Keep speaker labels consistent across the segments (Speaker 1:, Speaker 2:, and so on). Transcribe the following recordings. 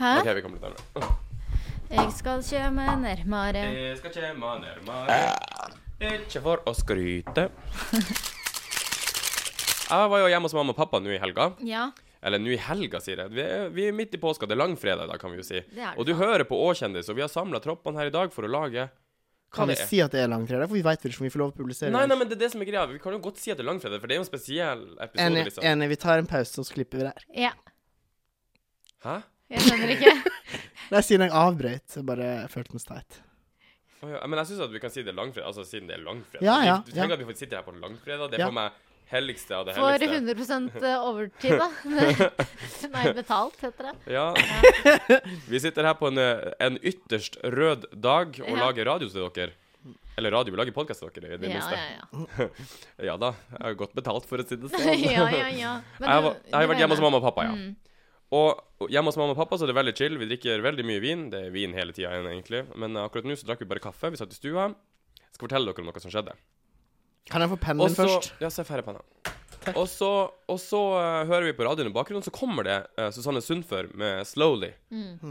Speaker 1: Hæ?
Speaker 2: OK, vi kommer litt nærmere.
Speaker 1: Jeg skal kjøme nærmere.
Speaker 2: Jeg Eh, skal kjemme nærmere. Ah. Ikke for å skryte. Jeg var jo hjemme hos mamma og pappa nå i helga.
Speaker 1: Ja.
Speaker 2: Eller nå i helga, sier jeg. Vi er, vi er midt i påska. Det er langfredag, da, kan vi jo si.
Speaker 1: Det er det
Speaker 2: Og du
Speaker 1: faen.
Speaker 2: hører på Åkjendis, og vi har samla troppene her i dag for å lage hva
Speaker 3: Kan vi
Speaker 2: det er.
Speaker 3: si at det er langfredag? For vi veit ikke om vi får lov å publisere.
Speaker 2: Nei,
Speaker 3: det.
Speaker 2: nei, men det er det som er greia. Vi kan jo godt si at det er langfredag, for det er jo en spesiell episode,
Speaker 3: Enig,
Speaker 2: liksom.
Speaker 3: enig. Vi tar en pause, og så klipper vi der.
Speaker 2: Eh.
Speaker 1: ja.
Speaker 2: Hæ?
Speaker 1: Jeg skjønner ikke.
Speaker 3: Nei, siden jeg avbrøt, så bare følte meg så teit.
Speaker 2: Å ja, Men jeg syns at vi kan si det er langfredag, altså siden det er langfredag.
Speaker 3: Ja, ja,
Speaker 2: Vi- Du tenker
Speaker 3: ja.
Speaker 2: at vi får sitte her på langfredag. Det er
Speaker 3: Ja.
Speaker 2: for meg helligste av det
Speaker 1: Får
Speaker 2: helligste.
Speaker 1: 100 overtid, da. Nei, betalt, heter det.
Speaker 2: Ja. Vi sitter her på en, eh, en ytterst rød dag og
Speaker 1: Ja.
Speaker 2: lager radio til dere. Eller radio, vi lager podkast til dere, i det
Speaker 1: Ja,
Speaker 2: minste.
Speaker 1: ja, ja.
Speaker 2: Ja da, jeg har godt betalt for å si det sånn.
Speaker 1: ja, ja, ja.
Speaker 2: jeg,
Speaker 1: Men
Speaker 2: har,
Speaker 1: du-
Speaker 2: va- jeg har
Speaker 1: du
Speaker 2: vært hjemme hos
Speaker 1: mener-
Speaker 2: mamma og pappa, ja.
Speaker 1: Mm.
Speaker 2: Og hjemme hos mamma og pappa så er det veldig chill. Vi drikker veldig mye vin. Det er vin hele tida, egentlig. Men eh, akkurat nå så drakk vi bare kaffe. Vi satt i stua. Jeg skal fortelle dere om noe som skjedde.
Speaker 3: Kan jeg få pennen
Speaker 2: Og
Speaker 3: min
Speaker 2: så
Speaker 3: først?
Speaker 2: Ja, se ferdig på henne. Og så, og så eh, hører vi på radioen i bakgrunnen, så kommer det eh, Susanne Sundfør med 'Slowly'.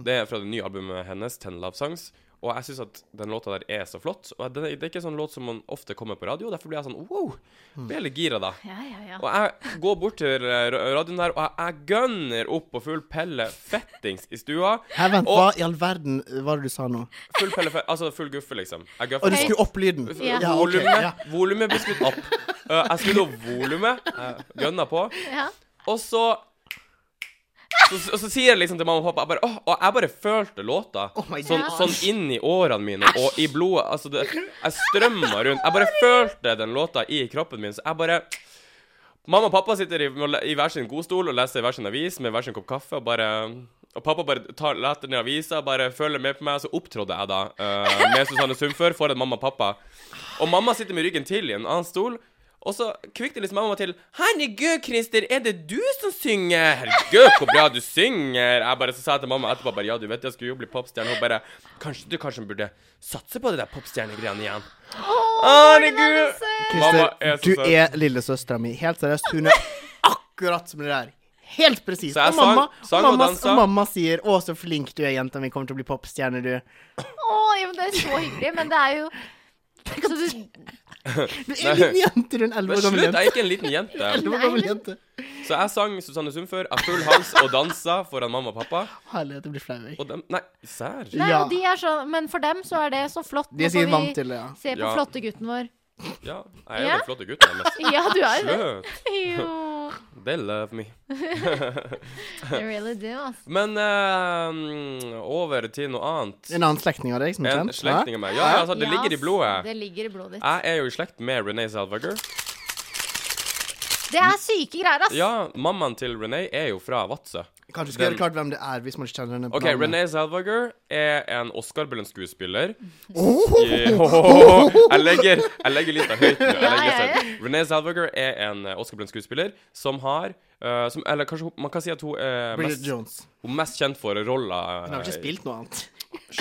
Speaker 2: Det er fra det nye albumet hennes, 'Ten Love Songs'. Og jeg syns at den låta der er så flott. Og det, det er ikke en sånn låt som man ofte kommer på radio, og derfor blir jeg sånn wow!
Speaker 3: Mm.
Speaker 2: Blir jeg litt gira da.
Speaker 1: Ja, ja, ja.
Speaker 2: Og jeg går bort til eh, ra- radioen der, og jeg, jeg gønner opp på full pelle fettings i stua.
Speaker 3: Her, vent,
Speaker 2: og
Speaker 3: Hva i all verden var det du sa nå?
Speaker 2: full pelle fe- Altså full guffe, liksom. Jeg
Speaker 3: Og
Speaker 2: guffer
Speaker 3: du
Speaker 2: på.
Speaker 3: skulle opp lyden?
Speaker 1: Ja.
Speaker 3: Ja, ok,
Speaker 2: Volumet
Speaker 3: ja.
Speaker 2: volumet ble skrudd opp. Eh, jeg skrudde opp volumet. jeg Gønna på.
Speaker 1: ja.
Speaker 2: Og så så, så, så sier jeg liksom til mamma og pappa jeg bare, åh, Og jeg bare følte låta
Speaker 3: my
Speaker 2: sånn,
Speaker 1: God.
Speaker 2: sånn inni årene mine og i blodet. Altså, det, jeg strømma rundt. Jeg bare følte den låta i kroppen min, så jeg bare Mamma og pappa sitter i, i hver sin godstol og leser hver sin avis med hver sin kopp kaffe og bare og pappa bare tar, leter ned avisa, bare følger med på meg. Så opptrådde jeg da eh, med Susanne Sundfør foran mamma og pappa. Og mamma sitter med ryggen til i en annen stol. Og så kvikte liksom mamma til. 'Herregud, Christer, er det du som synger?' 'Herregud, hvor bra du synger.' Jeg bare så sa jeg til mamma etterpå bare 'Ja, du vet jeg skulle jo bli popstjerne.' Hun bare 'Kanskje du kanskje burde satse på det der popstjernegreiene igjen?' Herregud. Mamma er
Speaker 3: Christer,
Speaker 2: så
Speaker 3: du
Speaker 2: søt.
Speaker 3: er lillesøstera mi. Helt seriøst, hun er akkurat som det der. Helt presis.
Speaker 2: Så jeg
Speaker 3: Og mamma,
Speaker 2: sang- sang og
Speaker 3: mamma,
Speaker 2: dansa.
Speaker 3: mamma sier 'Å, så flink du er, jenta mi. Kommer til å bli popstjerne, du'.
Speaker 1: Å, ja, men det er så hyggelig, men det er jo så du,
Speaker 3: Du er en liten jente, du er en elleve
Speaker 2: Men
Speaker 3: år
Speaker 2: slutt,
Speaker 3: gammel
Speaker 2: jeg
Speaker 3: jente.
Speaker 2: er ikke en liten jente.
Speaker 3: Elleve år
Speaker 1: Nei,
Speaker 3: gammel
Speaker 1: men-
Speaker 3: jente.
Speaker 2: Så jeg sang Susanne Sundfør av full hals og dansa foran mamma og pappa.
Speaker 3: Herlighet, jeg blir flau. jeg.
Speaker 2: Og dem Nei, sær.
Speaker 1: Nei,
Speaker 3: Ja.
Speaker 1: og de er så, Men for dem så er det så flott.
Speaker 3: De er
Speaker 1: Nå får
Speaker 3: sikkert
Speaker 1: vi
Speaker 3: vant til det, ja.
Speaker 1: Se på
Speaker 2: Ja.
Speaker 1: flottegutten vår.
Speaker 2: Ja, jeg er
Speaker 1: Ja.
Speaker 2: den flotte gutten hennes.
Speaker 1: Ja, du er jo det.
Speaker 2: Søt.
Speaker 1: Jo.
Speaker 2: They love me.
Speaker 1: I really do, altså.
Speaker 2: Men eh, over til noe annet.
Speaker 3: En annen slektning av deg som er
Speaker 2: En
Speaker 3: kjent?
Speaker 2: slektning av meg. Ja, altså, det
Speaker 1: Ja,
Speaker 2: ligger i
Speaker 1: ass,
Speaker 2: blodet. Ah.
Speaker 1: Det ligger i blodet ditt.
Speaker 2: Jeg er jo i slekt med René Zellweger.
Speaker 1: Det er syke greier, ass.
Speaker 2: Ja, mammaen til René er jo fra Vadsø.
Speaker 3: Ja. Kanskje du skal
Speaker 2: Den-
Speaker 3: gjøre klart hvem det er, hvis man ikke kjenner henne. på
Speaker 2: OK,
Speaker 3: navnet.
Speaker 2: René Zellweger er en Oscar-belønt skuespiller.
Speaker 1: Oh!
Speaker 3: Åh!
Speaker 2: I- Jeg legger, jeg legger lista høyt nå.
Speaker 1: Ja,
Speaker 2: Jeg legger
Speaker 1: ja, ja.
Speaker 2: sånn. Renée Zellweger er en eh, Oscar-belønt skuespiller som har eh, som, Eller kanskje hun, man kan si at hun er
Speaker 3: Bridget
Speaker 2: mest,
Speaker 3: Jones.
Speaker 2: hun er mest kjent for rolla eh,
Speaker 3: Hun har ikke spilt noe annet.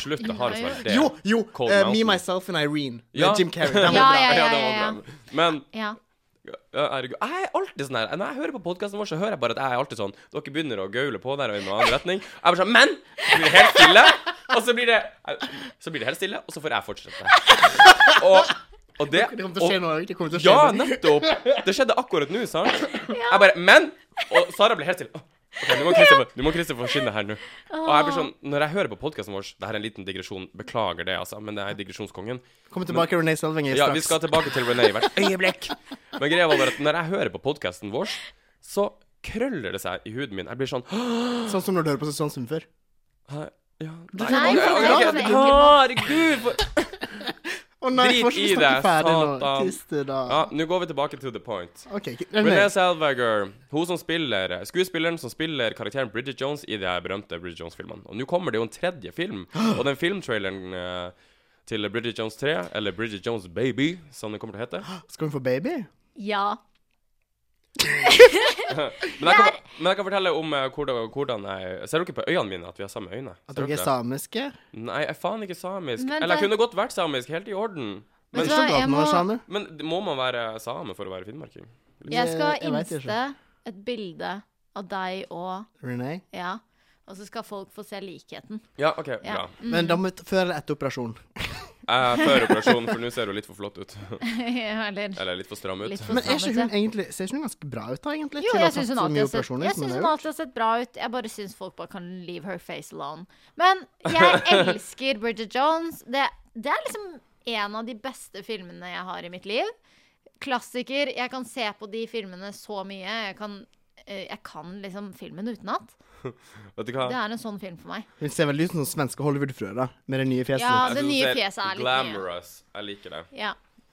Speaker 2: Slutt, det har ikke vært det.
Speaker 3: Jo, jo!
Speaker 2: Cold
Speaker 3: eh, me,
Speaker 2: Mountain.
Speaker 3: Myself and Irene.
Speaker 2: Ja.
Speaker 3: Med Jim Carrey. Den var
Speaker 1: Ja,
Speaker 3: bra.
Speaker 1: ja, ja.
Speaker 2: det var bra. Men
Speaker 1: Ja.
Speaker 2: ja, herregud. Jeg er alltid sånn her Når jeg hører på podkasten vår, så hører jeg bare at jeg er alltid sånn Dere begynner å gaule på der og i en annen retning. Jeg bare sånn Men! Så blir det helt stille. Og så blir det Så blir det helt stille, og så får jeg fortsette. Og, og det
Speaker 3: Det kommer til å skje
Speaker 2: og-
Speaker 3: nå. Det kommer til å skje
Speaker 2: Ja,
Speaker 3: nå.
Speaker 2: nettopp! Det skjedde akkurat nå, sant? Jeg bare Men! Og Sara ble helt stille. Åh, Ok, nå må Christopher- nå må Christopher skinne her nå. Og jeg blir sånn Når jeg hører på podkasten vår Det her er en liten digresjon. Beklager det, altså, men jeg er digresjonskongen.
Speaker 3: Kom tilbake, Renee Selvinger,
Speaker 2: Ja,
Speaker 3: straks.
Speaker 2: vi skal tilbake til René hvert øyeblikk. Men greia var bare at når jeg hører på podkasten vår, så krøller det seg i huden min. Jeg blir sånn «Hå,
Speaker 3: Sånn som når du hører på Susann Sundfør.
Speaker 2: hæ, ja,
Speaker 1: Nei,
Speaker 2: ok,
Speaker 1: for
Speaker 2: ok,
Speaker 1: da-
Speaker 2: ok, Herregud! for-
Speaker 3: Å nei,
Speaker 2: Drit
Speaker 3: jeg får ikke
Speaker 2: i
Speaker 3: snakke
Speaker 2: det,
Speaker 3: ferdig nå.
Speaker 2: satan.
Speaker 3: Christer, da.
Speaker 2: Ja, nå går vi tilbake to the point.
Speaker 3: OK.
Speaker 2: Renée
Speaker 3: Renee.
Speaker 2: Zellweger, hun som spiller skuespilleren som spiller karakteren Bridget Jones i de her berømte Bridget Jones-filmene. Og nå kommer det jo en tredje film, og den filmtraileren eh, til Bridget Jones 3, eller Bridget Jones Baby, som den kommer til å hete
Speaker 3: Skal hun få baby?
Speaker 1: ja.
Speaker 2: Men jeg kan, men jeg kan fortelle om eh, hvordan, hvordan jeg Ser dere på øynene mine at vi har samme øyne?
Speaker 3: At
Speaker 2: Ser
Speaker 3: dere er
Speaker 2: dere?
Speaker 3: samiske?
Speaker 2: Nei, jeg er faen ikke samisk.
Speaker 1: Men
Speaker 2: Eller jeg
Speaker 1: det-
Speaker 2: kunne godt vært samisk, helt i orden.
Speaker 3: Men
Speaker 1: Vet
Speaker 3: det
Speaker 1: du
Speaker 3: er
Speaker 1: hva,
Speaker 3: så bra
Speaker 1: jeg
Speaker 3: at man er
Speaker 1: må-
Speaker 3: same.
Speaker 2: Men d- må man være same for å være finnmarking?
Speaker 1: Jeg
Speaker 3: eh, Jeg-
Speaker 1: skal
Speaker 3: jeg vet ikke.
Speaker 1: inste et bilde av deg og
Speaker 3: Renee.
Speaker 1: Ja. Og så skal folk få se likheten.
Speaker 2: Ja, OK, bra.
Speaker 1: Ja.
Speaker 3: Men da må vi ta- før eller etter operasjon.
Speaker 2: Eh, før operasjonen, for nå ser hun litt for flott ut.
Speaker 1: Eller
Speaker 2: Eller litt for stram ut.
Speaker 1: litt for
Speaker 3: Men er ikke
Speaker 1: stramt,
Speaker 3: hun
Speaker 1: ja.
Speaker 3: egentlig Ser ikke hun ganske bra ut, da, egentlig?
Speaker 1: Jo,
Speaker 3: til å ha
Speaker 1: jeg syns
Speaker 3: tatt
Speaker 1: hun
Speaker 3: så
Speaker 1: alltid
Speaker 3: mye
Speaker 1: har sett,
Speaker 3: operasjoner
Speaker 1: jeg synes
Speaker 3: som
Speaker 1: hun
Speaker 3: hun har gjort.
Speaker 1: alltid har sett bra ut. Jeg bare syns folk bare kan leave her face alone. Men jeg elsker Bridget Jones. Det, det er liksom en av de beste filmene jeg har i mitt liv. Klassiker. Jeg kan se på de filmene så mye. Jeg kan, eh, jeg kan liksom filmen utenat.
Speaker 2: Vet du hva?
Speaker 1: Det er en sånn film for meg.
Speaker 3: Hun ser veldig ut som svenske Hollywood-frøer, da, med det nye fjeset.
Speaker 1: Ja,
Speaker 2: Jeg
Speaker 1: det
Speaker 2: synes
Speaker 1: nye
Speaker 2: hun ser
Speaker 1: fjeset er litt mye.
Speaker 2: Glamorous. Jeg liker det.
Speaker 1: Ja.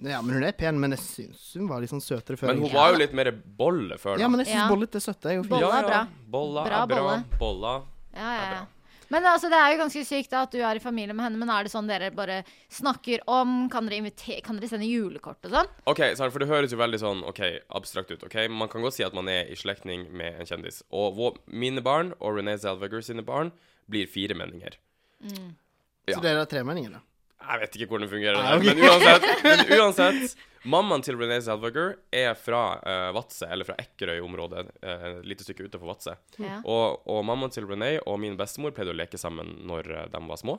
Speaker 3: Ja, men hun er pen, men jeg syns hun var litt sånn søtere før.
Speaker 2: Men hun var jo litt mer bolle før, da.
Speaker 3: Ja, men jeg syns
Speaker 1: Ja.
Speaker 3: bollet er søtt. Det er jo fint.
Speaker 1: Bolle er bra.
Speaker 2: Bolla
Speaker 1: Bra
Speaker 2: er bra.
Speaker 1: bolle.
Speaker 2: Bolla.
Speaker 1: Ja, ja,
Speaker 2: er bra.
Speaker 1: ja. Men altså, det er jo ganske sykt da, at du er i familie med henne, men er det sånn dere bare snakker om Kan dere, invite- kan dere sende julekort og sånn?
Speaker 2: OK, sant, for det høres jo veldig sånn OK, abstrakt ut. ok? Man kan godt si at man er i slektning med en kjendis. Og vår, mine barn og René Zellweger sine barn blir firemenninger. Ja.
Speaker 3: Så dere er tremenninger, da.
Speaker 2: Jeg vet ikke hvordan det fungerer,
Speaker 3: Nei, ok.
Speaker 2: men uansett, men uansett Mammaen til René Zellweger er fra eh, Vadsø, eller fra Ekkerøy-området, eh, et lite stykke utenfor Vadsø.
Speaker 1: Ja.
Speaker 2: Og, og mammaen til René og min bestemor pleide å leke sammen når eh, de var små.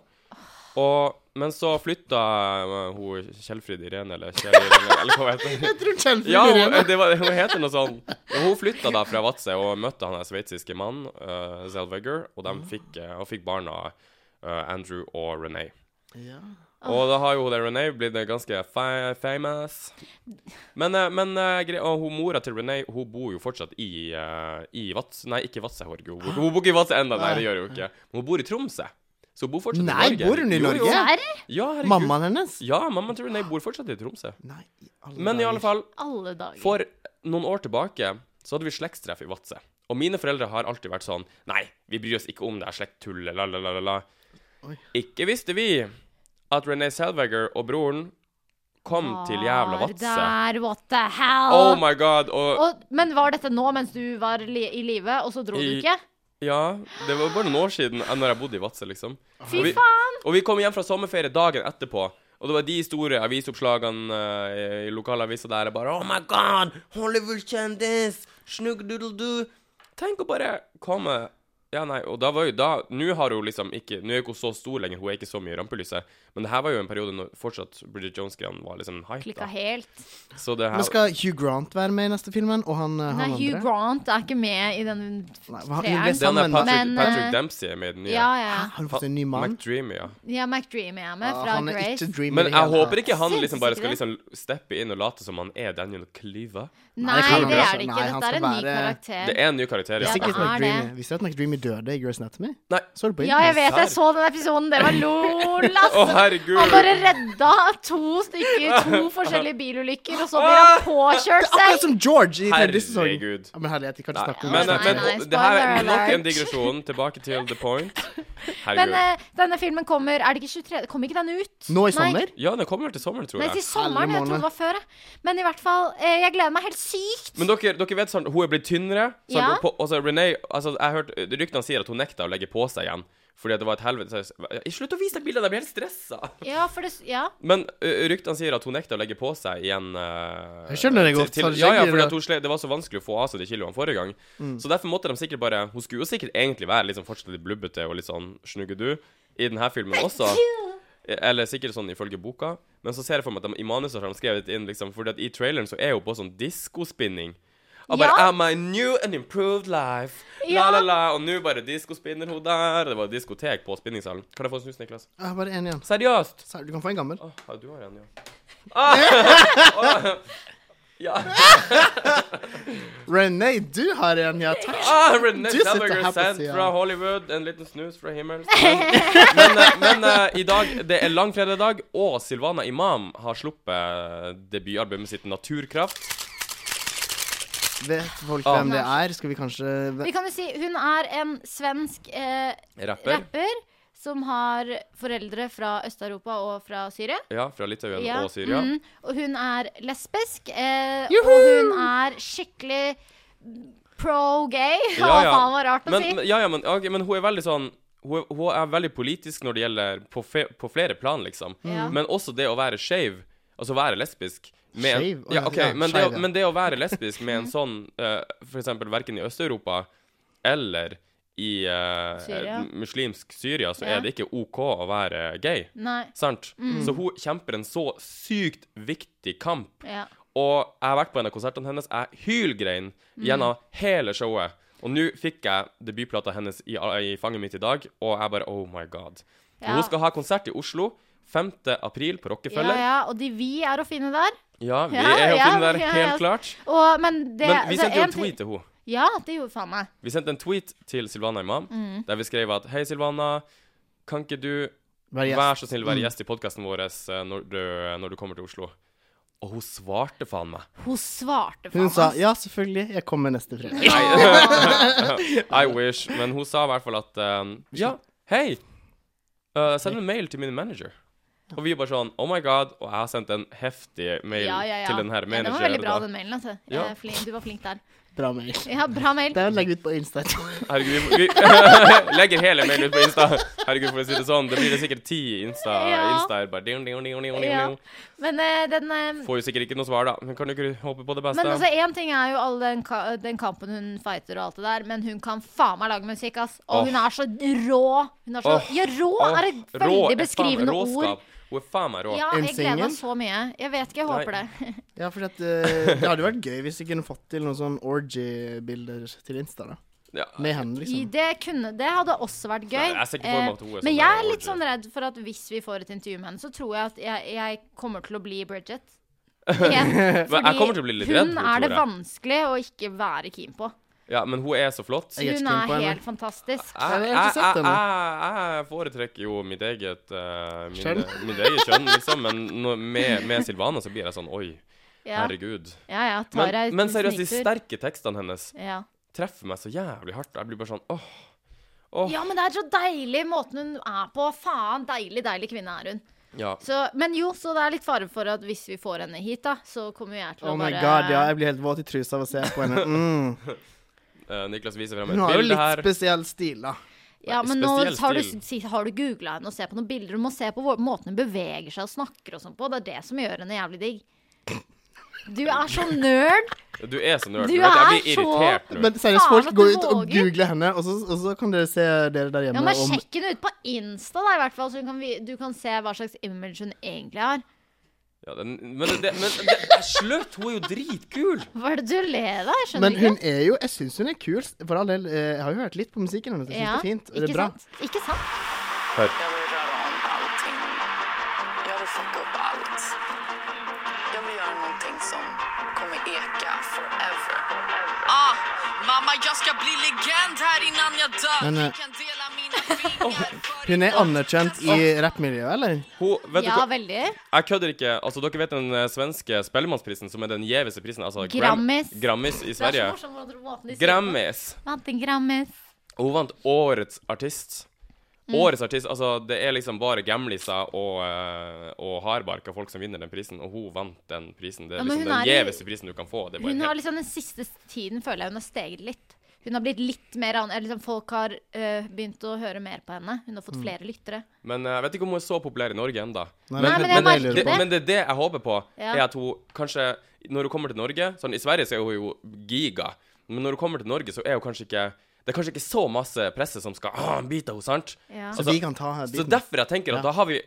Speaker 2: Og, men så flytta eh, hun Kjellfrid Irene, eller Kjell Irene, eller hva heter hun?
Speaker 3: Jeg tror Kjell
Speaker 2: Ja, hun,
Speaker 3: Irene.
Speaker 2: det var, hun heter noe sånn. Men Hun flytta da fra Vadsø og møtte han der sveitsiske mannen, eh, Zellweger, og de fikk, eh, og fikk barna eh, Andrew og René.
Speaker 3: Ja.
Speaker 2: Og da har jo hun der Renee blitt eh, ganske fa famous. Men, eh, men eh, gre- og hun mora til Renee hun bor jo fortsatt i, eh, i Vats... Nei, ikke Vadsø. Hun, bor- hun bor ikke i Vadsø ennå, nei, det gjør hun ikke. Men hun bor i Tromsø. Så hun bor fortsatt
Speaker 3: Nei,
Speaker 2: i Norge.
Speaker 3: bor hun i
Speaker 2: Jo, jo.
Speaker 3: Norge?
Speaker 1: Serr?
Speaker 2: Ja, herregud. Mamma.
Speaker 3: Mammaen hennes?
Speaker 2: Ja, mammaen til Renee bor fortsatt i Tromsø.
Speaker 3: Nei, i alle
Speaker 2: Men i alle fall,
Speaker 1: Alle dager.
Speaker 2: for noen år tilbake så hadde vi slektstreff i Vadsø. Og mine foreldre har alltid vært sånn Nei, vi bryr oss ikke om det er slekttull, la, la, la, la, la.
Speaker 3: Oi.
Speaker 2: Ikke visste vi at René Selvager og broren kom til jævla
Speaker 1: Var
Speaker 2: Vadsø.
Speaker 1: Der, what the hell?
Speaker 2: Oh my god. Og
Speaker 1: og, men var dette nå mens du var li i live, og så dro du
Speaker 2: I-
Speaker 1: ikke?
Speaker 2: ja, det var bare noen år siden eh, Når jeg bodde i Vadsø, liksom.
Speaker 1: Fy
Speaker 2: og vi,
Speaker 1: faen!
Speaker 2: Og vi kom hjem fra sommerferie dagen etterpå. Og det var de store avisoppslagene eh, i lokalavisa der. Bare Oh my god! Hollywood-kjendis! Snuggdoodledoo! Tenk å bare komme Ja, nei, og da var jo da Nå har hun liksom ikke Nå er ikke hun så stor lenger, hun er ikke så mye i rampelyset. Men det her var jo en periode når fortsatt Bridget Jones-greiene var liksom hype. Da.
Speaker 1: Klikka helt.
Speaker 2: Så det her
Speaker 3: Men skal Hugh Grant være med i neste filmen, og han, eh,
Speaker 1: Nei,
Speaker 3: han
Speaker 1: Hugh
Speaker 3: andre?
Speaker 1: Grant er ikke med i den
Speaker 3: Nei, hva- hun ble
Speaker 1: treeren.
Speaker 2: Den er
Speaker 3: sammen med-
Speaker 2: Patrick,
Speaker 1: Men, eh,
Speaker 2: Patrick Dempsey er med i den nye.
Speaker 1: Ja, ja.
Speaker 3: Hæ? Ah, Har du fått en ny mann?
Speaker 2: McDreamy, ja.
Speaker 1: Ja, McDreamy er med,
Speaker 3: Ja,
Speaker 1: fra
Speaker 3: Ah, han er
Speaker 1: Grace.
Speaker 3: ikke altså. dreamer
Speaker 2: Men
Speaker 3: i det
Speaker 2: jeg
Speaker 3: hele tatt.
Speaker 2: håper ikke han
Speaker 1: Syns
Speaker 2: liksom bare
Speaker 1: ikke
Speaker 2: skal
Speaker 1: det.
Speaker 2: liksom steppe inn og late som han er Daniel Cleaver.
Speaker 1: Nei,
Speaker 3: kan
Speaker 1: det
Speaker 3: han ikke.
Speaker 1: er det
Speaker 3: Nei,
Speaker 1: ikke.
Speaker 3: han
Speaker 1: Dette er en
Speaker 3: skal
Speaker 1: ny
Speaker 3: være-
Speaker 1: karakter.
Speaker 2: Det er en ny karakter,
Speaker 1: Ja,
Speaker 2: ja.
Speaker 3: Visste
Speaker 1: det
Speaker 3: ikke
Speaker 1: er
Speaker 3: at
Speaker 1: det.
Speaker 3: McDreamy- Visste du at McDreamy døde i Grace Anatomy?
Speaker 2: Nei.
Speaker 3: Så du på
Speaker 1: Ja, jeg
Speaker 3: internett?
Speaker 1: vet jeg så den episoden. Det var lol,
Speaker 2: Å,
Speaker 1: ass.
Speaker 2: herregud.
Speaker 1: Han bare redda to stykker, to forskjellige bilulykker, og så blir han påkjørt
Speaker 3: Akkurat
Speaker 1: selv.
Speaker 3: som George i tredje sesong.
Speaker 2: Herregud.
Speaker 3: Ja, men herlighet, vi kan ikke snakke om
Speaker 2: Nei, men,
Speaker 3: det.
Speaker 1: Nei,
Speaker 2: men
Speaker 1: nei,
Speaker 2: det her er
Speaker 1: spoiler
Speaker 2: nok en
Speaker 1: alert.
Speaker 2: digresjon. Tilbake til the point.
Speaker 1: Men
Speaker 2: Herregud.
Speaker 1: eh, denne filmen kommer Er det ikke 23? Kommer ikke den ut?
Speaker 3: Nå
Speaker 1: Nei.
Speaker 3: i sommer?
Speaker 2: ja, den kommer til sommeren, tror
Speaker 1: Nei, til
Speaker 2: jeg.
Speaker 1: sommeren. Jeg trodde det var før. jeg. Men i hvert fall, eh, jeg gleder meg helt sykt.
Speaker 2: Men dere, dere vet sånn, hun er blitt tynnere. Sånn,
Speaker 1: Ja.
Speaker 2: på, altså, Renee, altså, jeg har hørt ryktene sier at hun nekta å legge på seg igjen. Fordi at det var et helvete Slutt å vise deg bildene, jeg blir helt stressa.
Speaker 1: Ja, for det s- Ja.
Speaker 2: Men ø, ryktene sier at hun nekta å legge på seg igjen. eh,
Speaker 3: Jeg skjønner det Mm.
Speaker 2: til-
Speaker 3: godt,
Speaker 2: Til,
Speaker 3: har du
Speaker 2: ja, ja,
Speaker 3: sikkert-
Speaker 2: fordi at hun slet, Det var så vanskelig å få av seg de kiloene forrige gang. Så derfor måtte de sikkert bare Hun skulle jo sikkert egentlig være liksom fortsatt litt blubbete og litt sånn snuggedu i denne filmen også. Eller sikkert sånn ifølge boka. Men så ser jeg for meg at de, i manuset har de skrevet inn liksom Fordi at i traileren så er hun på sånn diskospinning. Og bare
Speaker 1: Ja.
Speaker 2: Am I new and improved life?
Speaker 1: Ja.
Speaker 2: La, la, la. Og nå bare diskospinner hun der. Det var diskotek på spinningsalen. Kan jeg få en snus, Niklas?
Speaker 3: Ja, bare én igjen.
Speaker 2: Seriøst?
Speaker 3: Sa- Du kan få en gammel.
Speaker 2: Åh, ja, du har en, ja. Ah! Åh, ja.
Speaker 3: René, du har en, ja. Takk.
Speaker 2: Ah, René
Speaker 3: Du sitter
Speaker 2: Zellweger
Speaker 3: her på
Speaker 2: sendt
Speaker 3: siden.
Speaker 2: fra Hollywood. En liten snus fra himmelen. Men, men, eh, men eh, i dag, det er langfredag, og Silvana Imam har sluppet debutalbumet sitt Naturkraft.
Speaker 3: Vet folk
Speaker 2: Ah.
Speaker 3: hvem det er? Skal vi kanskje
Speaker 1: Vi kan jo si hun er en svensk eh,
Speaker 2: Rapper.
Speaker 1: rapper som har foreldre fra Øst-Europa og fra Syria.
Speaker 2: Ja, fra Litauen
Speaker 1: Ja,
Speaker 2: og Syria.
Speaker 1: mm. Og hun er lesbisk. Eh, og
Speaker 3: Juhu!
Speaker 1: hun er skikkelig pro-gay. Hva faen var rart å
Speaker 2: men,
Speaker 1: si?
Speaker 2: men- Ja, ja, men, ok, men hun er veldig sånn hun, er- hun er veldig politisk når det gjelder på, fe, på flere plan, liksom.
Speaker 1: Ja.
Speaker 3: Mm.
Speaker 2: Men også det å være skeiv, altså være lesbisk med,
Speaker 3: Skeiv? Å,
Speaker 2: Ja,
Speaker 3: ja,
Speaker 2: ok,
Speaker 3: ja,
Speaker 2: men, det,
Speaker 3: skeiv,
Speaker 2: å-
Speaker 3: ja. Mm.
Speaker 2: men det å være lesbisk med en sånn eh, For eksempel verken i Øst-Europa eller i eh,
Speaker 1: Syria.
Speaker 2: muslimsk Syria, så
Speaker 1: Ja. Mm.
Speaker 2: er det ikke OK å være gay.
Speaker 1: Nei.
Speaker 2: Sant? Så hun kjemper en så sykt viktig kamp.
Speaker 1: Ja.
Speaker 2: Og jeg har vært på en av konsertene hennes. Jeg hylgrein
Speaker 1: Mhm.
Speaker 2: gjennom hele showet. Og nå fikk jeg debutplata hennes i, i fanget mitt i dag, og jeg bare Oh my God. Og
Speaker 1: Ja.
Speaker 2: Hun skal ha konsert i Oslo 5. april på
Speaker 1: ja,
Speaker 2: Rockefeller. Ja,
Speaker 1: ja. Og de vi er å finne der.
Speaker 2: vi er
Speaker 1: Ja,
Speaker 2: jo
Speaker 1: ja,
Speaker 2: finne der,
Speaker 1: ja,
Speaker 2: helt
Speaker 1: ja.
Speaker 2: klart.
Speaker 1: Og, men det,
Speaker 2: Men vi
Speaker 1: så
Speaker 2: sendte jo
Speaker 1: en
Speaker 2: en
Speaker 1: ting-
Speaker 2: tweet til henne.
Speaker 1: Ja, det gjorde faen meg.
Speaker 2: Vi sendte en tweet til Silvana Imam,
Speaker 1: Mm.
Speaker 2: der vi skrev at Hei, Silvana. Kan ikke du
Speaker 3: Vær gjest. Mm.
Speaker 2: Vær så snill, være gjest i podkasten vår eh, når du, når du kommer til Oslo. Og hun svarte faen meg.
Speaker 1: Hun svarte faen
Speaker 3: Hun sa
Speaker 1: meg.
Speaker 3: ja, selvfølgelig, jeg kommer neste fredag.
Speaker 2: I wish. Men hun sa i hvert fall at eh, Ja, hei! eh, send en mail til min manager. Og vi er bare sånn Oh my god. Og jeg har sendt en heftig mail
Speaker 1: Ja, ja, ja.
Speaker 2: til den her
Speaker 1: Ja, det
Speaker 2: manager.
Speaker 1: var veldig bra,
Speaker 2: da.
Speaker 1: den mailen. Altså.
Speaker 2: Ja.
Speaker 1: Jeg er flink, du var flink der.
Speaker 3: Bra mail.
Speaker 1: Ja, bra mail.
Speaker 3: Den legger vi ut på Insta.
Speaker 2: Herregud, vi, vi legger hele mailen ut på Insta. Herregud, for å si det sånn. Det blir det sikkert ti Insta,
Speaker 1: Ja.
Speaker 2: Instaer. Bare ding, ding, ding, ding, ding,
Speaker 1: Ja.
Speaker 2: ding.
Speaker 1: Men eh, den eh,
Speaker 2: Får jo sikkert ikke noe svar, da. Men kan du ikke håpe på det beste?
Speaker 1: men altså, én ting er jo all den, ka den kampen hun fighter og alt det der, men hun kan faen meg lage musikk, ass. Og
Speaker 2: Åh.
Speaker 1: hun er så rå. Hun er så,
Speaker 2: Åh.
Speaker 1: ja, rå
Speaker 2: Åh,
Speaker 1: er et veldig
Speaker 2: rå er faen-
Speaker 1: beskrivende
Speaker 2: råskap.
Speaker 1: ord.
Speaker 2: Hun er faen meg rå.
Speaker 1: Ja, jeg gleder
Speaker 3: Innsynet?
Speaker 1: meg så mye. Jeg vet ikke, jeg
Speaker 2: Nei. liksom-
Speaker 1: håper det.
Speaker 3: Ja, for at, eh, det hadde vært gøy hvis vi kunne fått til noen sånn orgy-bilder til Insta. da
Speaker 2: Ja.
Speaker 3: Med henne,
Speaker 1: I
Speaker 3: liksom.
Speaker 1: det, kunne, det hadde også vært gøy.
Speaker 2: Nei, jeg ser ikke for meg at hun er
Speaker 1: Eh,
Speaker 2: sånn
Speaker 1: men
Speaker 2: der
Speaker 1: jeg er
Speaker 2: orgy.
Speaker 1: litt sånn redd for at hvis vi får et intervju med henne, så tror jeg at jeg, jeg kommer til å bli Bridget. Igjen.
Speaker 2: Men jeg kommer til å bli litt redd,
Speaker 1: hun
Speaker 2: tror
Speaker 1: er det
Speaker 2: jeg.
Speaker 1: vanskelig å ikke være keen på.
Speaker 2: ja, men hun er så flott. Jeg,
Speaker 3: Jeg er
Speaker 1: Hun
Speaker 3: ikke keen
Speaker 1: er
Speaker 3: på henne.
Speaker 1: helt fantastisk.
Speaker 3: Nei,
Speaker 2: jeg,
Speaker 3: jeg har
Speaker 2: jeg,
Speaker 3: ikke sett henne.
Speaker 2: jeg foretrekker jo mitt eget eh, min,
Speaker 3: Kjønn.
Speaker 2: mitt eget kjønn, liksom. Men når, med, med Silvana så blir jeg sånn Oi,
Speaker 1: Ja,
Speaker 2: herregud.
Speaker 1: ja, ja tar
Speaker 2: Men,
Speaker 1: jeg
Speaker 2: men seriøst, de
Speaker 1: sniktur.
Speaker 2: sterke tekstene hennes
Speaker 1: ja.
Speaker 2: treffer meg så jævlig hardt. Jeg blir bare sånn åh. Åh.
Speaker 1: ja, men det er så deilig måten hun er på. Faen, deilig, deilig kvinne er hun.
Speaker 2: Ja.
Speaker 1: Så, men jo, så det er litt fare for at hvis vi får henne hit, da, så kommer jeg til å
Speaker 3: Oh my
Speaker 1: bare
Speaker 3: god, ja, jeg blir helt våt i trusa av å se på henne. Mm.
Speaker 2: Eh, Niklas viser frem
Speaker 3: Hun
Speaker 2: et
Speaker 3: har jo
Speaker 2: bilde
Speaker 3: litt
Speaker 2: her.
Speaker 3: spesiell stil, da.
Speaker 1: Ja, men nå
Speaker 2: Spesiell
Speaker 1: har du,
Speaker 2: stil.
Speaker 1: si- har du googla henne og ser på noen bilder. Du må se på hvor, måten hun beveger seg og snakker og sånn på. Det er det som gjør henne jævlig digg. Du er så nerd.
Speaker 2: Du er så nerd.
Speaker 1: Du
Speaker 2: Du vet, jeg
Speaker 1: er
Speaker 2: blir
Speaker 1: så-
Speaker 2: irritert nå.
Speaker 3: Men seriøst,
Speaker 1: Faen,
Speaker 3: folk
Speaker 1: at du
Speaker 3: går ut og
Speaker 1: våger.
Speaker 3: googler henne, og så, og så kan dere se dere der
Speaker 1: Ja,
Speaker 3: hjemme
Speaker 1: men
Speaker 3: om
Speaker 1: Sjekk henne ut på Insta, da, i hvert fall, så hun kan, vi- du kan se hva slags image hun egentlig har.
Speaker 2: Ja, den, men det, men det, slutt! Hun er jo dritkul!
Speaker 1: Hva er det du ler av? Jeg skjønner
Speaker 3: Men hun
Speaker 1: ikke.
Speaker 3: er jo Jeg syns hun er kul, for all del. eh, Jeg har jo hørt litt på musikken hennes, jeg syns det er fint. Og det
Speaker 1: ikke
Speaker 3: er bra.
Speaker 1: Sant? Ikke sant?
Speaker 4: Jag vill röra om allting. Jag vill fucka upp allt. Jag vill göra någonting som kommer eka forever. Ah, mamma, jag ska bli legend här innan jag dör.
Speaker 3: Men, eh,
Speaker 4: Ni kan dela mina fingrar för
Speaker 3: Hun er
Speaker 4: idag.
Speaker 3: anerkjent i rappmiljøet, eller?
Speaker 2: Hun, vet
Speaker 1: Ja,
Speaker 2: du hva?
Speaker 1: veldig.
Speaker 2: Jeg kødder ikke. Altså, dere vet den eh, svenske Spellemannsprisen, som er den gjeveste prisen? Altså, Gram-
Speaker 1: Grammis.
Speaker 2: Grammis i
Speaker 1: Det er så
Speaker 2: Sverige.
Speaker 1: morsomt hvordan måten de sier det på.
Speaker 2: Grammis.
Speaker 1: Vant en Grammis.
Speaker 2: Og hun vant Årets artist.
Speaker 1: Mm.
Speaker 2: Årets artist, altså Det er liksom bare gamliser og, eh, og hardbarka folk som vinner den prisen, og hun vant den prisen. Det
Speaker 1: Ja,
Speaker 2: er liksom
Speaker 1: men hun
Speaker 2: den
Speaker 1: er i-
Speaker 2: gjeveste prisen du kan få. Det er
Speaker 1: Hun
Speaker 2: bare
Speaker 1: har
Speaker 2: helt...
Speaker 1: liksom den siste tiden føler jeg hun har steget litt. Hun har blitt litt mer an... eller Liksom folk har øh, begynt å høre mer på henne. Hun har fått
Speaker 2: Mm.
Speaker 1: flere lyttere.
Speaker 2: Men eh, jeg vet ikke om hun er så populær i Norge ennå.
Speaker 3: Nei,
Speaker 1: Nei, men jeg
Speaker 3: det
Speaker 1: merker
Speaker 3: lurer
Speaker 2: det,
Speaker 3: jeg på.
Speaker 2: men det er det jeg håper på,
Speaker 1: Ja.
Speaker 2: er at hun kanskje Når hun kommer til Norge Sånn, I Sverige så er hun jo giga, men når hun kommer til Norge, så er hun kanskje ikke Det er kanskje ikke så masse presse som skal ah, bite henne, sant? Altså,
Speaker 1: Ja.
Speaker 3: Altså, Så vi kan ta her
Speaker 2: Så
Speaker 3: biten.
Speaker 2: derfor jeg tenker at da har vi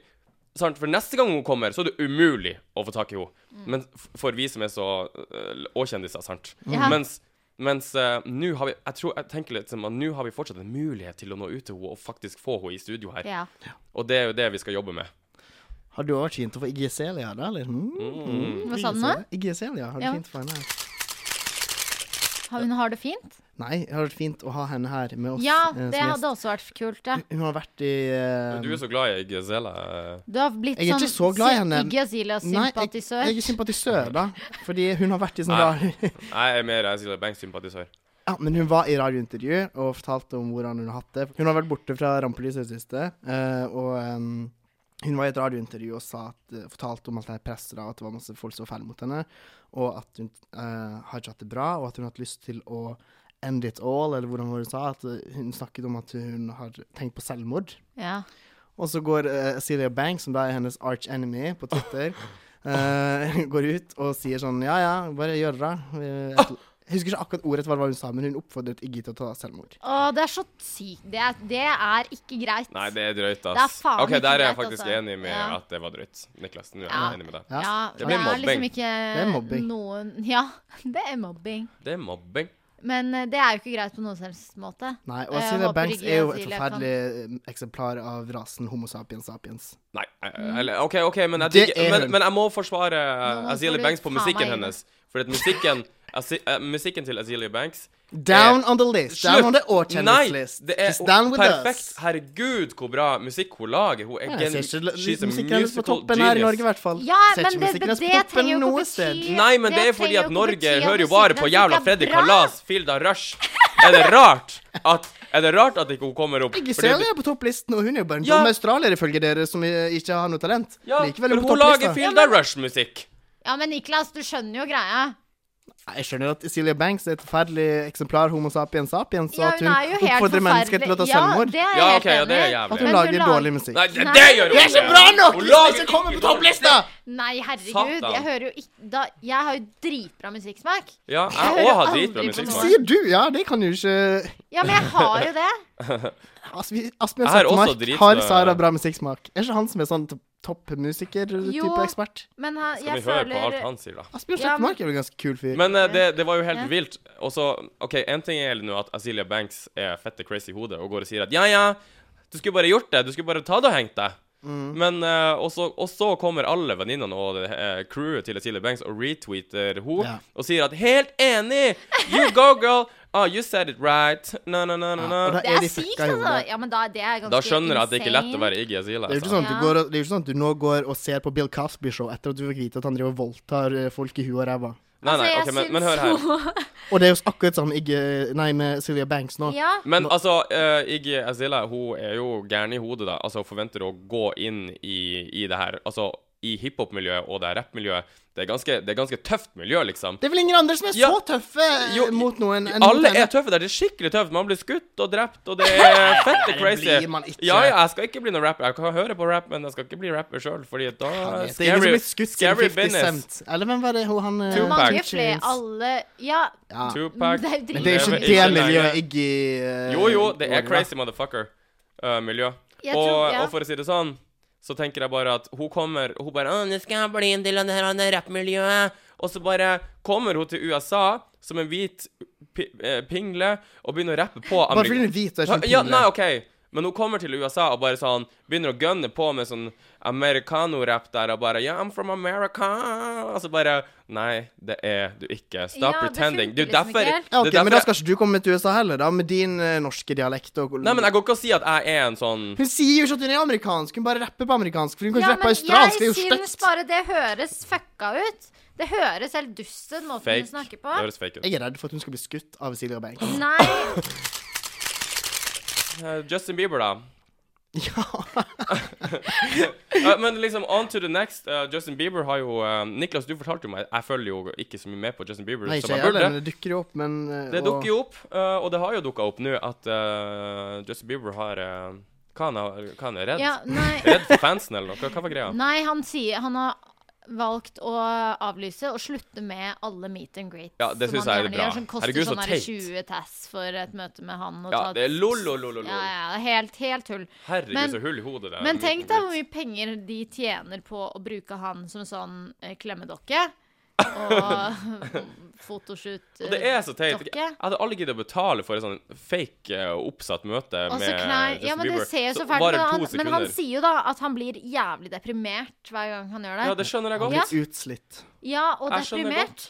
Speaker 2: sant? For neste gang hun kommer, så er det umulig å få tak i henne.
Speaker 1: Mm.
Speaker 2: Men f- for vi som er så øh, Og kjendiser, sant?
Speaker 1: Ja.
Speaker 2: Mens mens øh, nå har vi Jeg tror, jeg tenker litt som at nå har vi fortsatt en mulighet til å nå ut til henne og faktisk få henne i studio her.
Speaker 1: Ja.
Speaker 2: Og det er jo det vi skal jobbe med.
Speaker 3: Har du også vært fint å få Iggy Celia, da? Eller? Mm.
Speaker 1: Hva sa du nå?
Speaker 3: Iggy Celia, har du
Speaker 1: Ja.
Speaker 3: fint for henne her?
Speaker 1: Har hun har det fint?
Speaker 3: Nei, det har vært fint å ha henne her med oss.
Speaker 1: Ja,
Speaker 3: eh, som Mm.
Speaker 1: det
Speaker 3: gjest.
Speaker 1: hadde også vært kult, ja.
Speaker 3: Hun har vært i eh,
Speaker 2: Du er så glad i Gazella. øh.
Speaker 1: Du har blitt
Speaker 3: Jeg er
Speaker 1: sånn
Speaker 3: ikke så glad i henne.
Speaker 1: Iggy
Speaker 3: Nei, jeg,
Speaker 1: Azilia-sympatisør.
Speaker 3: jeg er sympatisør, da. Fordi hun har vært i sånn
Speaker 2: Nei.
Speaker 3: rar
Speaker 2: Jeg er mer Azila Banks-sympatisør.
Speaker 3: Ja, men hun var i radiointervju og fortalte om hvordan hun har hatt det. Hun har vært borte fra rampelyset i det siste, eh, og em, hun var i et radiointervju og sa at, eh, fortalte om alt det her presset, da, og at det var masse folk som var fæle mot henne, og at hun eh, har ikke hatt det bra, og at hun har hatt lyst til å end it all, eller hvordan var det hun sa, at eh, hun snakket om at hun har tenkt på selvmord.
Speaker 1: Ja.
Speaker 3: Og så går uh, Celia Banks, som da er hennes arch enemy på Twitter, eh, går ut og sier sånn Ja, ja, bare gjør det. da. Eh, Et, Jeg husker ikke akkurat ordet hva hun sa, men hun oppfordret Iggy til å ta selvmord.
Speaker 1: Å, det er så sykt. Det, er- det er ikke greit.
Speaker 2: Nei, det er drøyt, ass.
Speaker 1: Det er faen
Speaker 2: OK,
Speaker 1: ikke
Speaker 2: der er jeg
Speaker 1: greit,
Speaker 2: faktisk
Speaker 1: altså.
Speaker 2: enig med
Speaker 1: Ja.
Speaker 2: at det var drøyt. Niklas, nå er jeg
Speaker 1: Ja.
Speaker 2: enig med deg.
Speaker 1: ja,
Speaker 2: Det blir
Speaker 1: er liksom
Speaker 2: mobbing.
Speaker 1: ikke
Speaker 3: er mobbing.
Speaker 1: Noen, ja, det er mobbing.
Speaker 2: Det er mobbing.
Speaker 1: Men eh, det er jo ikke greit på noen som helst måte.
Speaker 3: Nei,
Speaker 1: Eh, Jeg
Speaker 3: og
Speaker 1: sånn.
Speaker 3: Silja
Speaker 1: håper
Speaker 3: Banks
Speaker 1: ikke
Speaker 3: er jo et
Speaker 1: Silja kan-
Speaker 3: forferdelig eh, eksemplar av rasen Homo sapiens sapiens.
Speaker 2: Nei, eh, eller OK, OK, men jeg,
Speaker 3: Det
Speaker 2: digger-
Speaker 3: er
Speaker 2: men,
Speaker 3: hun.
Speaker 2: men jeg må forsvare eh,
Speaker 1: Nå må- får
Speaker 2: Azealia
Speaker 1: du
Speaker 2: Banks på
Speaker 1: faen meg
Speaker 2: musikken
Speaker 1: inn.
Speaker 2: hennes. For at musikken Azi- eh, Musikken til Azealia Banks
Speaker 3: Down on the list!
Speaker 2: Slutt!
Speaker 3: Down on the
Speaker 2: Nei,
Speaker 3: årkjennelses list!
Speaker 2: det er
Speaker 3: She's down with
Speaker 2: perfekt.
Speaker 3: us!
Speaker 2: Herregud, hvor bra musikk hun lager. Hun er
Speaker 3: Ja,
Speaker 2: gen
Speaker 3: Jeg ser ikke
Speaker 2: she's a
Speaker 3: musikken hennes på
Speaker 2: musical
Speaker 3: toppen her i Norge, i
Speaker 2: genius.
Speaker 3: hvert fall.
Speaker 1: Ja,
Speaker 3: ser
Speaker 1: men
Speaker 3: ikke
Speaker 1: det,
Speaker 3: musikken
Speaker 1: det,
Speaker 3: hennes
Speaker 1: det
Speaker 3: på
Speaker 1: trenger
Speaker 3: toppen
Speaker 1: jo
Speaker 3: noe
Speaker 1: ikke
Speaker 3: sted.
Speaker 1: bety
Speaker 2: Nei, men det er
Speaker 1: trenger
Speaker 2: fordi
Speaker 1: jo
Speaker 2: at
Speaker 1: ikke
Speaker 2: Norge
Speaker 1: bety at
Speaker 2: hører jo
Speaker 1: musikken
Speaker 2: bare på
Speaker 1: hennes
Speaker 2: jævla
Speaker 1: ikke er
Speaker 2: Freddy
Speaker 1: bra.
Speaker 2: Kalas, Filda Rush. Er det rart at Er det rart at ikke hun kommer opp?
Speaker 3: Iggy
Speaker 2: fordi-
Speaker 3: Celia er på topplisten, og hun er jo bare en
Speaker 2: Ja.
Speaker 3: dum australier, ifølge dere, som i- ikke har noe talent.
Speaker 2: Ja,
Speaker 3: Likevel
Speaker 2: men
Speaker 3: er hun på
Speaker 2: hun lager
Speaker 3: topplista.
Speaker 2: Filda Rush-musikk.
Speaker 1: Ja, men Niklas, du skjønner jo greia.
Speaker 3: Nei, Jeg skjønner at Silja Banks er et forferdelig eksemplar Homo sapiens sapiens, og
Speaker 1: Ja,
Speaker 3: at
Speaker 1: hun
Speaker 3: hun
Speaker 1: er jo helt
Speaker 3: oppfordrer mennesker til å ta
Speaker 1: forferdelig. Ja,
Speaker 3: selvmord.
Speaker 1: det er jeg
Speaker 2: Ja,
Speaker 1: helt
Speaker 2: ok, ja, det er
Speaker 1: enig i.
Speaker 2: jævlig.
Speaker 3: At hun
Speaker 1: Men
Speaker 3: lager
Speaker 1: lag-
Speaker 3: dårlig musikk.
Speaker 2: Nei, det,
Speaker 1: Nei.
Speaker 2: det gjør hun
Speaker 1: Det er ikke bra
Speaker 2: nok! Hun lager ikke bra
Speaker 1: Nei, herregud.
Speaker 2: Satan.
Speaker 1: Jeg hører jo ikke da, Jeg har jo dritbra musikksmak.
Speaker 2: Ja,
Speaker 1: Jeg
Speaker 2: jeg
Speaker 1: hører
Speaker 2: òg har
Speaker 1: aldri
Speaker 2: dritbra
Speaker 1: på
Speaker 2: musikk.
Speaker 1: noe.
Speaker 2: Mark.
Speaker 3: Sier du? Ja, det kan jo ikke
Speaker 1: Ja, men jeg har jo det.
Speaker 3: Asbj- Asbjørn
Speaker 2: Jeg har også
Speaker 3: Sættermark
Speaker 2: dritsmø-
Speaker 3: har Sara bra musikksmak. Er ikke han som er sånn t-
Speaker 1: Jo.
Speaker 3: toppmusiker-type ekspert?
Speaker 1: Men han-
Speaker 2: Skal
Speaker 1: jeg
Speaker 2: vi høre på alt
Speaker 1: føler
Speaker 2: han sier, da?
Speaker 3: Asbjørn
Speaker 1: Ja, men-
Speaker 3: Sættermark er vel en ganske kul fyr.
Speaker 2: Men eh, det, det var jo helt
Speaker 1: Ja.
Speaker 2: vilt. Og så OK, én ting er nå at Azealia Banks er fette crazy i hodet og går og sier at ja, ja, du skulle bare gjort det. Du skulle bare ta det og hengt deg.
Speaker 3: Mm.
Speaker 2: Men eh, og så- og så kommer alle venninnene og det, eh, crewet til Azealia Banks og retweeter hun
Speaker 3: Ja.
Speaker 2: og sier at helt enig! You go, girl! Ah, you said it right. Na, na, na, na, na.
Speaker 3: Ja, og da-
Speaker 1: Det
Speaker 3: Er
Speaker 1: er
Speaker 3: de
Speaker 1: sykt,
Speaker 3: fucka i
Speaker 1: altså.
Speaker 3: hodet?
Speaker 1: Ja, men da, det er ganske
Speaker 2: Da skjønner jeg at det ikke er lett å
Speaker 1: insane.
Speaker 2: være Iggy Azealia.
Speaker 3: Det er jo ikke
Speaker 2: Altså.
Speaker 3: sånn at du,
Speaker 1: Ja.
Speaker 3: går og, det er jo ikke sånn at du nå går og ser på Bill Cosby-show etter at du fikk vite at han driver og voldtar eh, folk i huet og ræva.
Speaker 2: Nei, nei,
Speaker 1: Altså,
Speaker 2: ok,
Speaker 1: jeg
Speaker 2: men, men
Speaker 1: syns
Speaker 2: hør her.
Speaker 1: så-
Speaker 3: Og det er jo akkurat sånn med Iggy, nei, med Sylvia Banks nå.
Speaker 1: Ja.
Speaker 2: Men altså, eh, Iggy Azilla, hun er jo gæren i hodet, da. Altså, hun forventer å gå inn i, i det her. Altså, i hiphop-miljøet og det her rappmiljøet. Det er ganske, det er ganske tøft miljø, liksom.
Speaker 3: Det er vel ingen andre som er
Speaker 2: Ja.
Speaker 3: så tøffe eh,
Speaker 2: Jo,
Speaker 3: mot noen enn
Speaker 2: Alle
Speaker 3: mot
Speaker 2: er
Speaker 3: henne.
Speaker 2: tøffe der. Det er skikkelig tøft. Man blir skutt og drept, og det er fette
Speaker 3: det
Speaker 2: crazy.
Speaker 3: blir man ikke.
Speaker 2: Ja, ja, jeg skal ikke bli noen rapper. Jeg kan høre på rap, men jeg skal ikke bli rapper sjøl, fordi at da
Speaker 3: Det er ingen som blir skutt siden 50 Cent. Eller hvem var det hun han eh,
Speaker 2: Tupac.
Speaker 1: Mange
Speaker 3: Two
Speaker 1: flere.
Speaker 3: Chainz.
Speaker 1: Alle Ja.
Speaker 3: Ja.
Speaker 2: Tupac.
Speaker 1: Det er jo dritbra.
Speaker 3: Men det er jo
Speaker 2: Lever
Speaker 3: ikke det
Speaker 2: lenger.
Speaker 3: miljøet Iggy eh,
Speaker 2: Jo, jo, det er
Speaker 3: går i, da.
Speaker 2: crazy motherfucker eh, miljø.
Speaker 1: Jeg
Speaker 2: og,
Speaker 1: tror- ja.
Speaker 2: og for å si det sånn, så tenker jeg bare at hun kommer Hun bare «Å, 'Nå skal jeg bli en del av det her andre rappmiljøet'. Og så bare kommer hun til USA som en hvit pi- eh, pingle og begynner å rappe på
Speaker 3: Bare fordi hun er hvit, så er hun ikke
Speaker 2: ja,
Speaker 3: pingle.
Speaker 2: nei, OK. Men hun kommer til USA og bare sånn begynner å gønne på med sånn americano-rapp der og bare Yeah, I'm from America. Og så bare Nei, det er du ikke. Stop
Speaker 1: Ja, det
Speaker 2: pretending. Det er
Speaker 1: funker
Speaker 2: jo
Speaker 1: liksom
Speaker 2: derfor,
Speaker 1: ikke helt.
Speaker 3: Ja, ok,
Speaker 2: det er
Speaker 3: Men da
Speaker 2: derfor
Speaker 3: skal ikke du komme til USA heller, da, med din eh, norske dialekt og
Speaker 2: Nei, men jeg går ikke og sier at jeg er en sånn
Speaker 3: Hun sier jo ikke at hun er amerikansk, hun bare rapper på amerikansk. For hun kan
Speaker 1: Ja,
Speaker 3: ikke rappe
Speaker 1: men
Speaker 3: australsk, det er
Speaker 1: jeg
Speaker 3: jo
Speaker 1: syns
Speaker 3: stygt.
Speaker 1: bare det høres fucka ut. Det høres helt dust ut, måten
Speaker 2: Fake.
Speaker 1: hun snakker
Speaker 2: Det
Speaker 1: på.
Speaker 2: høres fake ut.
Speaker 3: Jeg er redd for at hun skal bli skutt av Silja Banks.
Speaker 1: Nei,
Speaker 2: Eh, Justin Bieber, da.
Speaker 3: Ja.
Speaker 2: Eh, men liksom, on to the next. eh, Justin Bieber har jo eh, Niklas, du fortalte jo meg Jeg følger jo ikke så mye med på Justin Bieber.
Speaker 3: Nei,
Speaker 2: som jeg
Speaker 3: ikke jeg heller,
Speaker 2: burde.
Speaker 3: men det dukker jo opp, men eh,
Speaker 2: Det
Speaker 3: og-
Speaker 2: dukker jo opp, eh, og det har jo dukka opp nå, at eh, Justin Bieber har eh, Hva han har- hva han er redd?
Speaker 1: ja, nei.
Speaker 2: Redd for fansen, eller noe? Hva var greia?
Speaker 1: Nei, han sier Han har valgt å avlyse og slutte med alle meet and greets.
Speaker 2: Ja, det
Speaker 1: som
Speaker 2: synes
Speaker 1: han
Speaker 2: jeg er
Speaker 1: gjerne
Speaker 2: bra.
Speaker 1: gjør, Som koster
Speaker 2: Herregud, så
Speaker 1: sånn der
Speaker 2: teit.
Speaker 1: 20 tass for et møte med han. Og
Speaker 2: Ja,
Speaker 1: ta-
Speaker 2: det er lol, lol, lol, lol.
Speaker 1: Ja, ja, det er helt, helt tull.
Speaker 2: Herregud,
Speaker 1: Men-
Speaker 2: så hull i hodet det er.
Speaker 1: Men tenk deg hvor mye penger de tjener på å bruke han som sånn eh, klemmedokke. Og eh, fotoshoot-dokke.
Speaker 2: Og det er så teit. Jeg hadde aldri giddet å betale for et sånn fake eh, oppsatt møte
Speaker 1: Og
Speaker 2: med
Speaker 1: så knær,
Speaker 2: Justin
Speaker 1: ja, men
Speaker 2: Bieber.
Speaker 1: det ser jo så fælt ut,
Speaker 2: varer
Speaker 1: men,
Speaker 2: to
Speaker 1: han- men han
Speaker 2: sekunder.
Speaker 1: sier jo da at han blir jævlig deprimert hver gang han gjør det.
Speaker 2: Ja, det skjønner jeg
Speaker 3: Han
Speaker 2: godt.
Speaker 1: Ja.
Speaker 3: blir utslitt.
Speaker 1: Ja, og
Speaker 2: Jeg skjønner
Speaker 1: deprimert.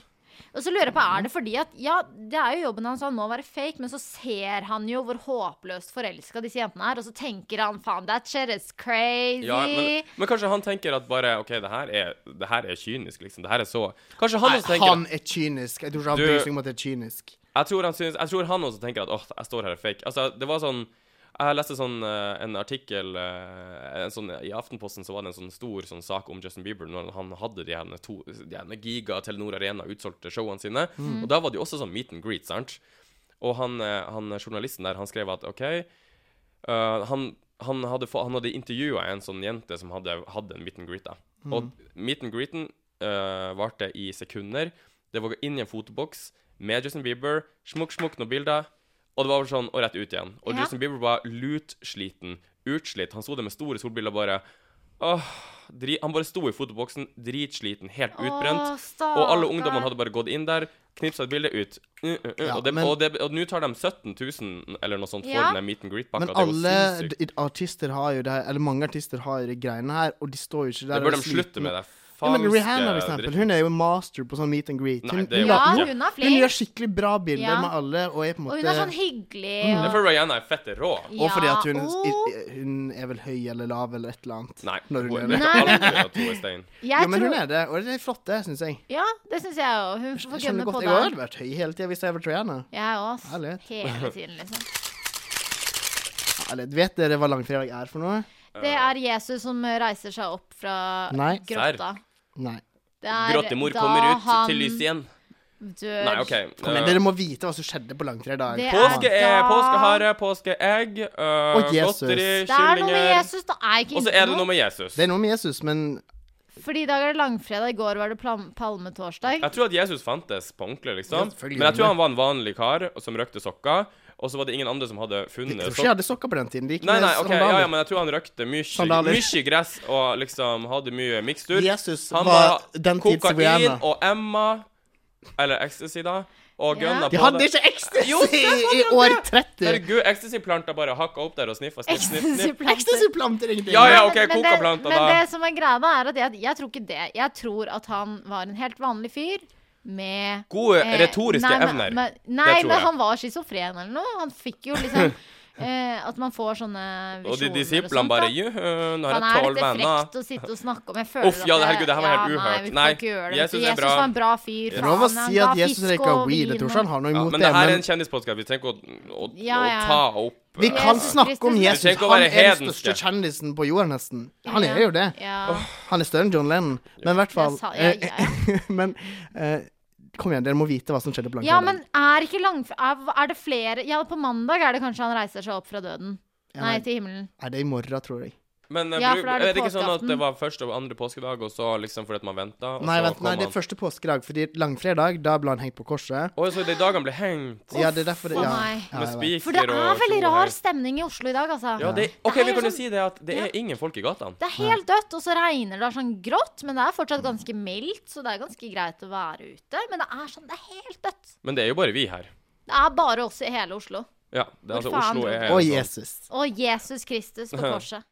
Speaker 1: Og så lurer jeg på, er det fordi at Ja, det er jo jobben hans, han må være fake, men så ser han jo hvor håpløst forelska disse jentene er, og så tenker han faen, that shit is crazy.
Speaker 2: Ja, men, men kanskje han tenker at bare OK, det her er, det her er kynisk, liksom. Det her er så Kanskje han
Speaker 3: Nei,
Speaker 2: også tenker
Speaker 3: han er kynisk. Jeg tror ikke han
Speaker 2: Du-
Speaker 3: bryr seg om at det er kynisk.
Speaker 2: jeg, tror han synes, jeg tror han også tenker at åh, jeg står her og er fake. Altså, det var sånn jeg leste sånn, eh, en artikkel eh, en sånn, I Aftenposten så var det en sånn stor sånn, sak om Justin Bieber når han hadde de her to de her giga Telenor Arena utsolgte showene sine.
Speaker 1: Mm.
Speaker 2: Og da var det jo også sånn meet and greet, sant? Og han, eh, han journalisten der, han skrev at OK Eh, han, han hadde, få- han hadde intervjua en sånn jente som hadde hatt en meet and greet. Da.
Speaker 3: Mm.
Speaker 2: Og meet and greeten eh, varte i sekunder. Det var inn i en fotoboks. med Justin Bieber. Smukk, smukk noen bilder. Og det var bare sånn, og rett ut igjen. Og
Speaker 1: Ja.
Speaker 2: Justin Bieber var lutsliten. Utslitt. Han sto der med store solbriller og bare Åh, dri, Han bare sto i fotoboksen, dritsliten, helt utbrent. og alle ungdommene hadde bare gått inn der, knipsa et bilde ut. Mm, mm, mm.
Speaker 3: Ja,
Speaker 2: og det-
Speaker 3: men-
Speaker 2: og det- og nå tar de 17 000 eller noe sånt for
Speaker 1: Ja.
Speaker 2: den der meet and greet-pakka.
Speaker 3: Men
Speaker 2: Det er jo
Speaker 3: alle
Speaker 2: sinnssykt.
Speaker 3: d- artister har jo det her, eller mange artister har jo de greiene her, og de står jo ikke der
Speaker 2: Det bør
Speaker 3: og
Speaker 2: de slutte med. Det
Speaker 3: Ja, men
Speaker 2: falske
Speaker 3: Rihanna, for eksempel,
Speaker 2: dritten.
Speaker 3: hun er jo master på sånn meet and greet.
Speaker 2: Nei,
Speaker 3: Hun,
Speaker 2: det er jo-
Speaker 3: hun,
Speaker 1: Ja,
Speaker 3: la-
Speaker 1: hun er
Speaker 3: hun gjør
Speaker 1: flink.
Speaker 3: skikkelig bra bilder
Speaker 1: Ja.
Speaker 3: med alle, og er på
Speaker 1: Og
Speaker 3: en måte
Speaker 1: hun er sånn
Speaker 2: Det
Speaker 1: hyggelig.
Speaker 2: er
Speaker 1: Og,
Speaker 2: for Rihanna er fett rå.
Speaker 3: Mm. Og fordi at hun,
Speaker 1: og-
Speaker 3: i- i- hun er vel høy eller lav eller et eller annet.
Speaker 2: Nei,
Speaker 3: Når hun
Speaker 2: hun
Speaker 3: er
Speaker 2: det
Speaker 3: det.
Speaker 2: er alltid at hun er stein.
Speaker 1: Jeg
Speaker 3: Ja, men hun
Speaker 1: tror-
Speaker 3: er det, og det er flott, det, syns jeg.
Speaker 1: Ja, det syns jeg òg. Hun får
Speaker 3: Jeg
Speaker 1: gønne
Speaker 3: skjønner
Speaker 1: på
Speaker 3: godt, Jeg hadde
Speaker 1: det.
Speaker 3: vært høy hele tida hvis jeg var Rihanna.
Speaker 1: Jeg
Speaker 3: Ærlig.
Speaker 1: òg. Hele tiden, liksom.
Speaker 3: Eller, vet dere hva langfredag er for noe?
Speaker 1: Det
Speaker 2: Eh.
Speaker 1: er Jesus som reiser seg opp fra
Speaker 3: Nei.
Speaker 1: grotta.
Speaker 3: Nei.
Speaker 1: Det er
Speaker 2: Grottemor
Speaker 1: da
Speaker 2: kommer ut
Speaker 1: han
Speaker 2: til lyset igjen.
Speaker 1: Dør.
Speaker 2: Nei, OK.
Speaker 3: Kom igjen,
Speaker 2: eh,
Speaker 3: dere må vite hva som skjedde på langfredag.
Speaker 1: Det
Speaker 2: påske er
Speaker 1: da-
Speaker 2: påskehare, påskeegg, uh,
Speaker 3: Og Jesus.
Speaker 2: godteri,
Speaker 1: Det er noe med
Speaker 2: kyllinger
Speaker 1: Jesus. Det er ikke
Speaker 2: Og så
Speaker 1: innenfor
Speaker 2: er det noe med Jesus.
Speaker 3: Det er noe med Jesus, men
Speaker 1: Fordi i dag er det langfredag, i går var det plam- palmetorsdag.
Speaker 2: Jeg tror at Jesus fantes på ordentlig, liksom.
Speaker 3: Ja, selvfølgelig
Speaker 2: Men jeg tror
Speaker 3: gjorde
Speaker 2: han var en vanlig kar som røkte sokker, og så var det ingen andre som hadde
Speaker 3: jeg
Speaker 2: funnet
Speaker 3: tror
Speaker 2: sokker.
Speaker 3: ikke jeg hadde sokker på den tiden. De gikk
Speaker 2: Nei,
Speaker 3: med
Speaker 2: nei, ok,
Speaker 3: sandaler.
Speaker 2: ja, ja, men jeg tror han røkte mye,
Speaker 3: Sandaler.
Speaker 2: mye gress og liksom hadde mye mikstur.
Speaker 3: Jesus
Speaker 2: han
Speaker 3: var
Speaker 2: var
Speaker 3: den tids
Speaker 2: kokain
Speaker 3: Rihanna.
Speaker 2: og Emma, eller ecstasy, da, og
Speaker 1: Ja.
Speaker 2: gønna
Speaker 3: De
Speaker 2: på
Speaker 3: hadde
Speaker 2: det.
Speaker 3: ikke ecstasy
Speaker 2: Jo, det
Speaker 3: i, i
Speaker 2: hadde
Speaker 3: år
Speaker 2: det.
Speaker 3: 30.
Speaker 2: Herregud, ecstasy-planta bare hakka opp der og sniffa, sniff, sniff, sniff.
Speaker 1: Ecstasy-planter.
Speaker 3: Ecstasy-planter, ingenting.
Speaker 2: Ja, ja,
Speaker 1: Men-
Speaker 2: ok,
Speaker 1: men det-
Speaker 2: kokaplanta, da.
Speaker 1: Men det som er greia, da, er at jeg, jeg tror ikke det. Jeg tror at han var en helt vanlig fyr med
Speaker 2: Gode
Speaker 1: eh,
Speaker 2: retoriske
Speaker 1: nei, men-
Speaker 2: evner.
Speaker 1: Men, nei,
Speaker 2: tror
Speaker 1: men
Speaker 2: jeg.
Speaker 1: han var schizofren eller noe. Han fikk jo liksom eh, At man får sånne visjoner
Speaker 2: Og de
Speaker 1: og sånt,
Speaker 2: disiplene
Speaker 1: da.
Speaker 2: bare Jø, nå har
Speaker 1: Han
Speaker 2: jeg
Speaker 1: er
Speaker 2: tolv
Speaker 1: litt
Speaker 2: venner.
Speaker 1: frekt å sitte og snakke om. Jeg føler
Speaker 2: Uff, ja,
Speaker 1: at
Speaker 2: herregud, det her var helt
Speaker 1: ja,
Speaker 2: uhørt.
Speaker 1: vi kan
Speaker 2: Nei,
Speaker 1: ikke gjøre det.
Speaker 2: Jesus er
Speaker 1: Jesus
Speaker 2: bra.
Speaker 1: var en bra
Speaker 2: Ja.
Speaker 1: fyr. faen,
Speaker 3: Lov å
Speaker 1: han
Speaker 3: si
Speaker 1: ga
Speaker 3: at Jesus
Speaker 1: fisk
Speaker 3: røyka
Speaker 1: og
Speaker 3: weed. Jeg
Speaker 1: vin
Speaker 3: tror ikke
Speaker 1: og-
Speaker 3: han har noe
Speaker 2: Ja,
Speaker 3: imot
Speaker 2: men
Speaker 3: det.
Speaker 2: det her er
Speaker 3: Men
Speaker 2: en kjendispodkast. Vi trenger ikke å, å,
Speaker 1: Ja, ja.
Speaker 2: å ta opp
Speaker 3: vi
Speaker 2: eh,
Speaker 3: kan
Speaker 1: Jesus
Speaker 3: snakke om
Speaker 1: Kristus.
Speaker 3: Jesus.
Speaker 2: Vi trenger ikke å
Speaker 3: Han
Speaker 2: være
Speaker 3: er den
Speaker 2: hedenske.
Speaker 3: største kjendisen på jord, nesten. Han er jo det.
Speaker 1: Ja.
Speaker 3: Han er større enn John Lennon. Men i hvert fall
Speaker 1: Jeg sa- ja, ja,
Speaker 3: Men eh, kom igjen, dere må vite hva som skjedde på langfredag.
Speaker 1: Ja, men er ikke langf... Er, er det flere Ja, på mandag er det kanskje han reiser seg opp fra døden.
Speaker 3: Ja,
Speaker 1: Nei,
Speaker 3: men-
Speaker 1: til himmelen.
Speaker 3: Er det i morgen, tror jeg?
Speaker 2: Men eh,
Speaker 1: Ja,
Speaker 2: bruk-
Speaker 1: for da er det
Speaker 2: er det ikke sånn at
Speaker 1: påskeaften.
Speaker 2: det var første og andre påskedag, og så liksom fordi at man venta?
Speaker 3: Nei, vent, nei, det er første påskedag, fordi langfredag, da ble han hengt på korset.
Speaker 2: Å, så de dagene ble hengt
Speaker 3: Ja, det er derfor det,
Speaker 1: Å,
Speaker 3: ja.
Speaker 1: nei.
Speaker 3: ja,
Speaker 2: med
Speaker 3: jeg vet.
Speaker 1: For det
Speaker 2: spiker og
Speaker 1: er veldig
Speaker 2: tjohei.
Speaker 1: rar stemning i Oslo i dag, altså.
Speaker 2: Ja, det, OK,
Speaker 1: Det er
Speaker 2: vi kan jo
Speaker 1: sånn-
Speaker 2: si det at det er ingen folk i gatene.
Speaker 1: Det er helt dødt, og så regner det er sånn grått, men det er fortsatt ganske mildt, så det er ganske greit å være ute. Men det er sånn, det er helt dødt.
Speaker 2: Men det er jo bare vi her.
Speaker 1: Det er bare oss i hele Oslo.
Speaker 2: Ja, det, er altså
Speaker 1: Hvor faen
Speaker 2: Oslo
Speaker 1: dro
Speaker 2: er
Speaker 1: du?
Speaker 2: sånn-
Speaker 3: Og Jesus.
Speaker 1: Og Jesus Kristus på korset.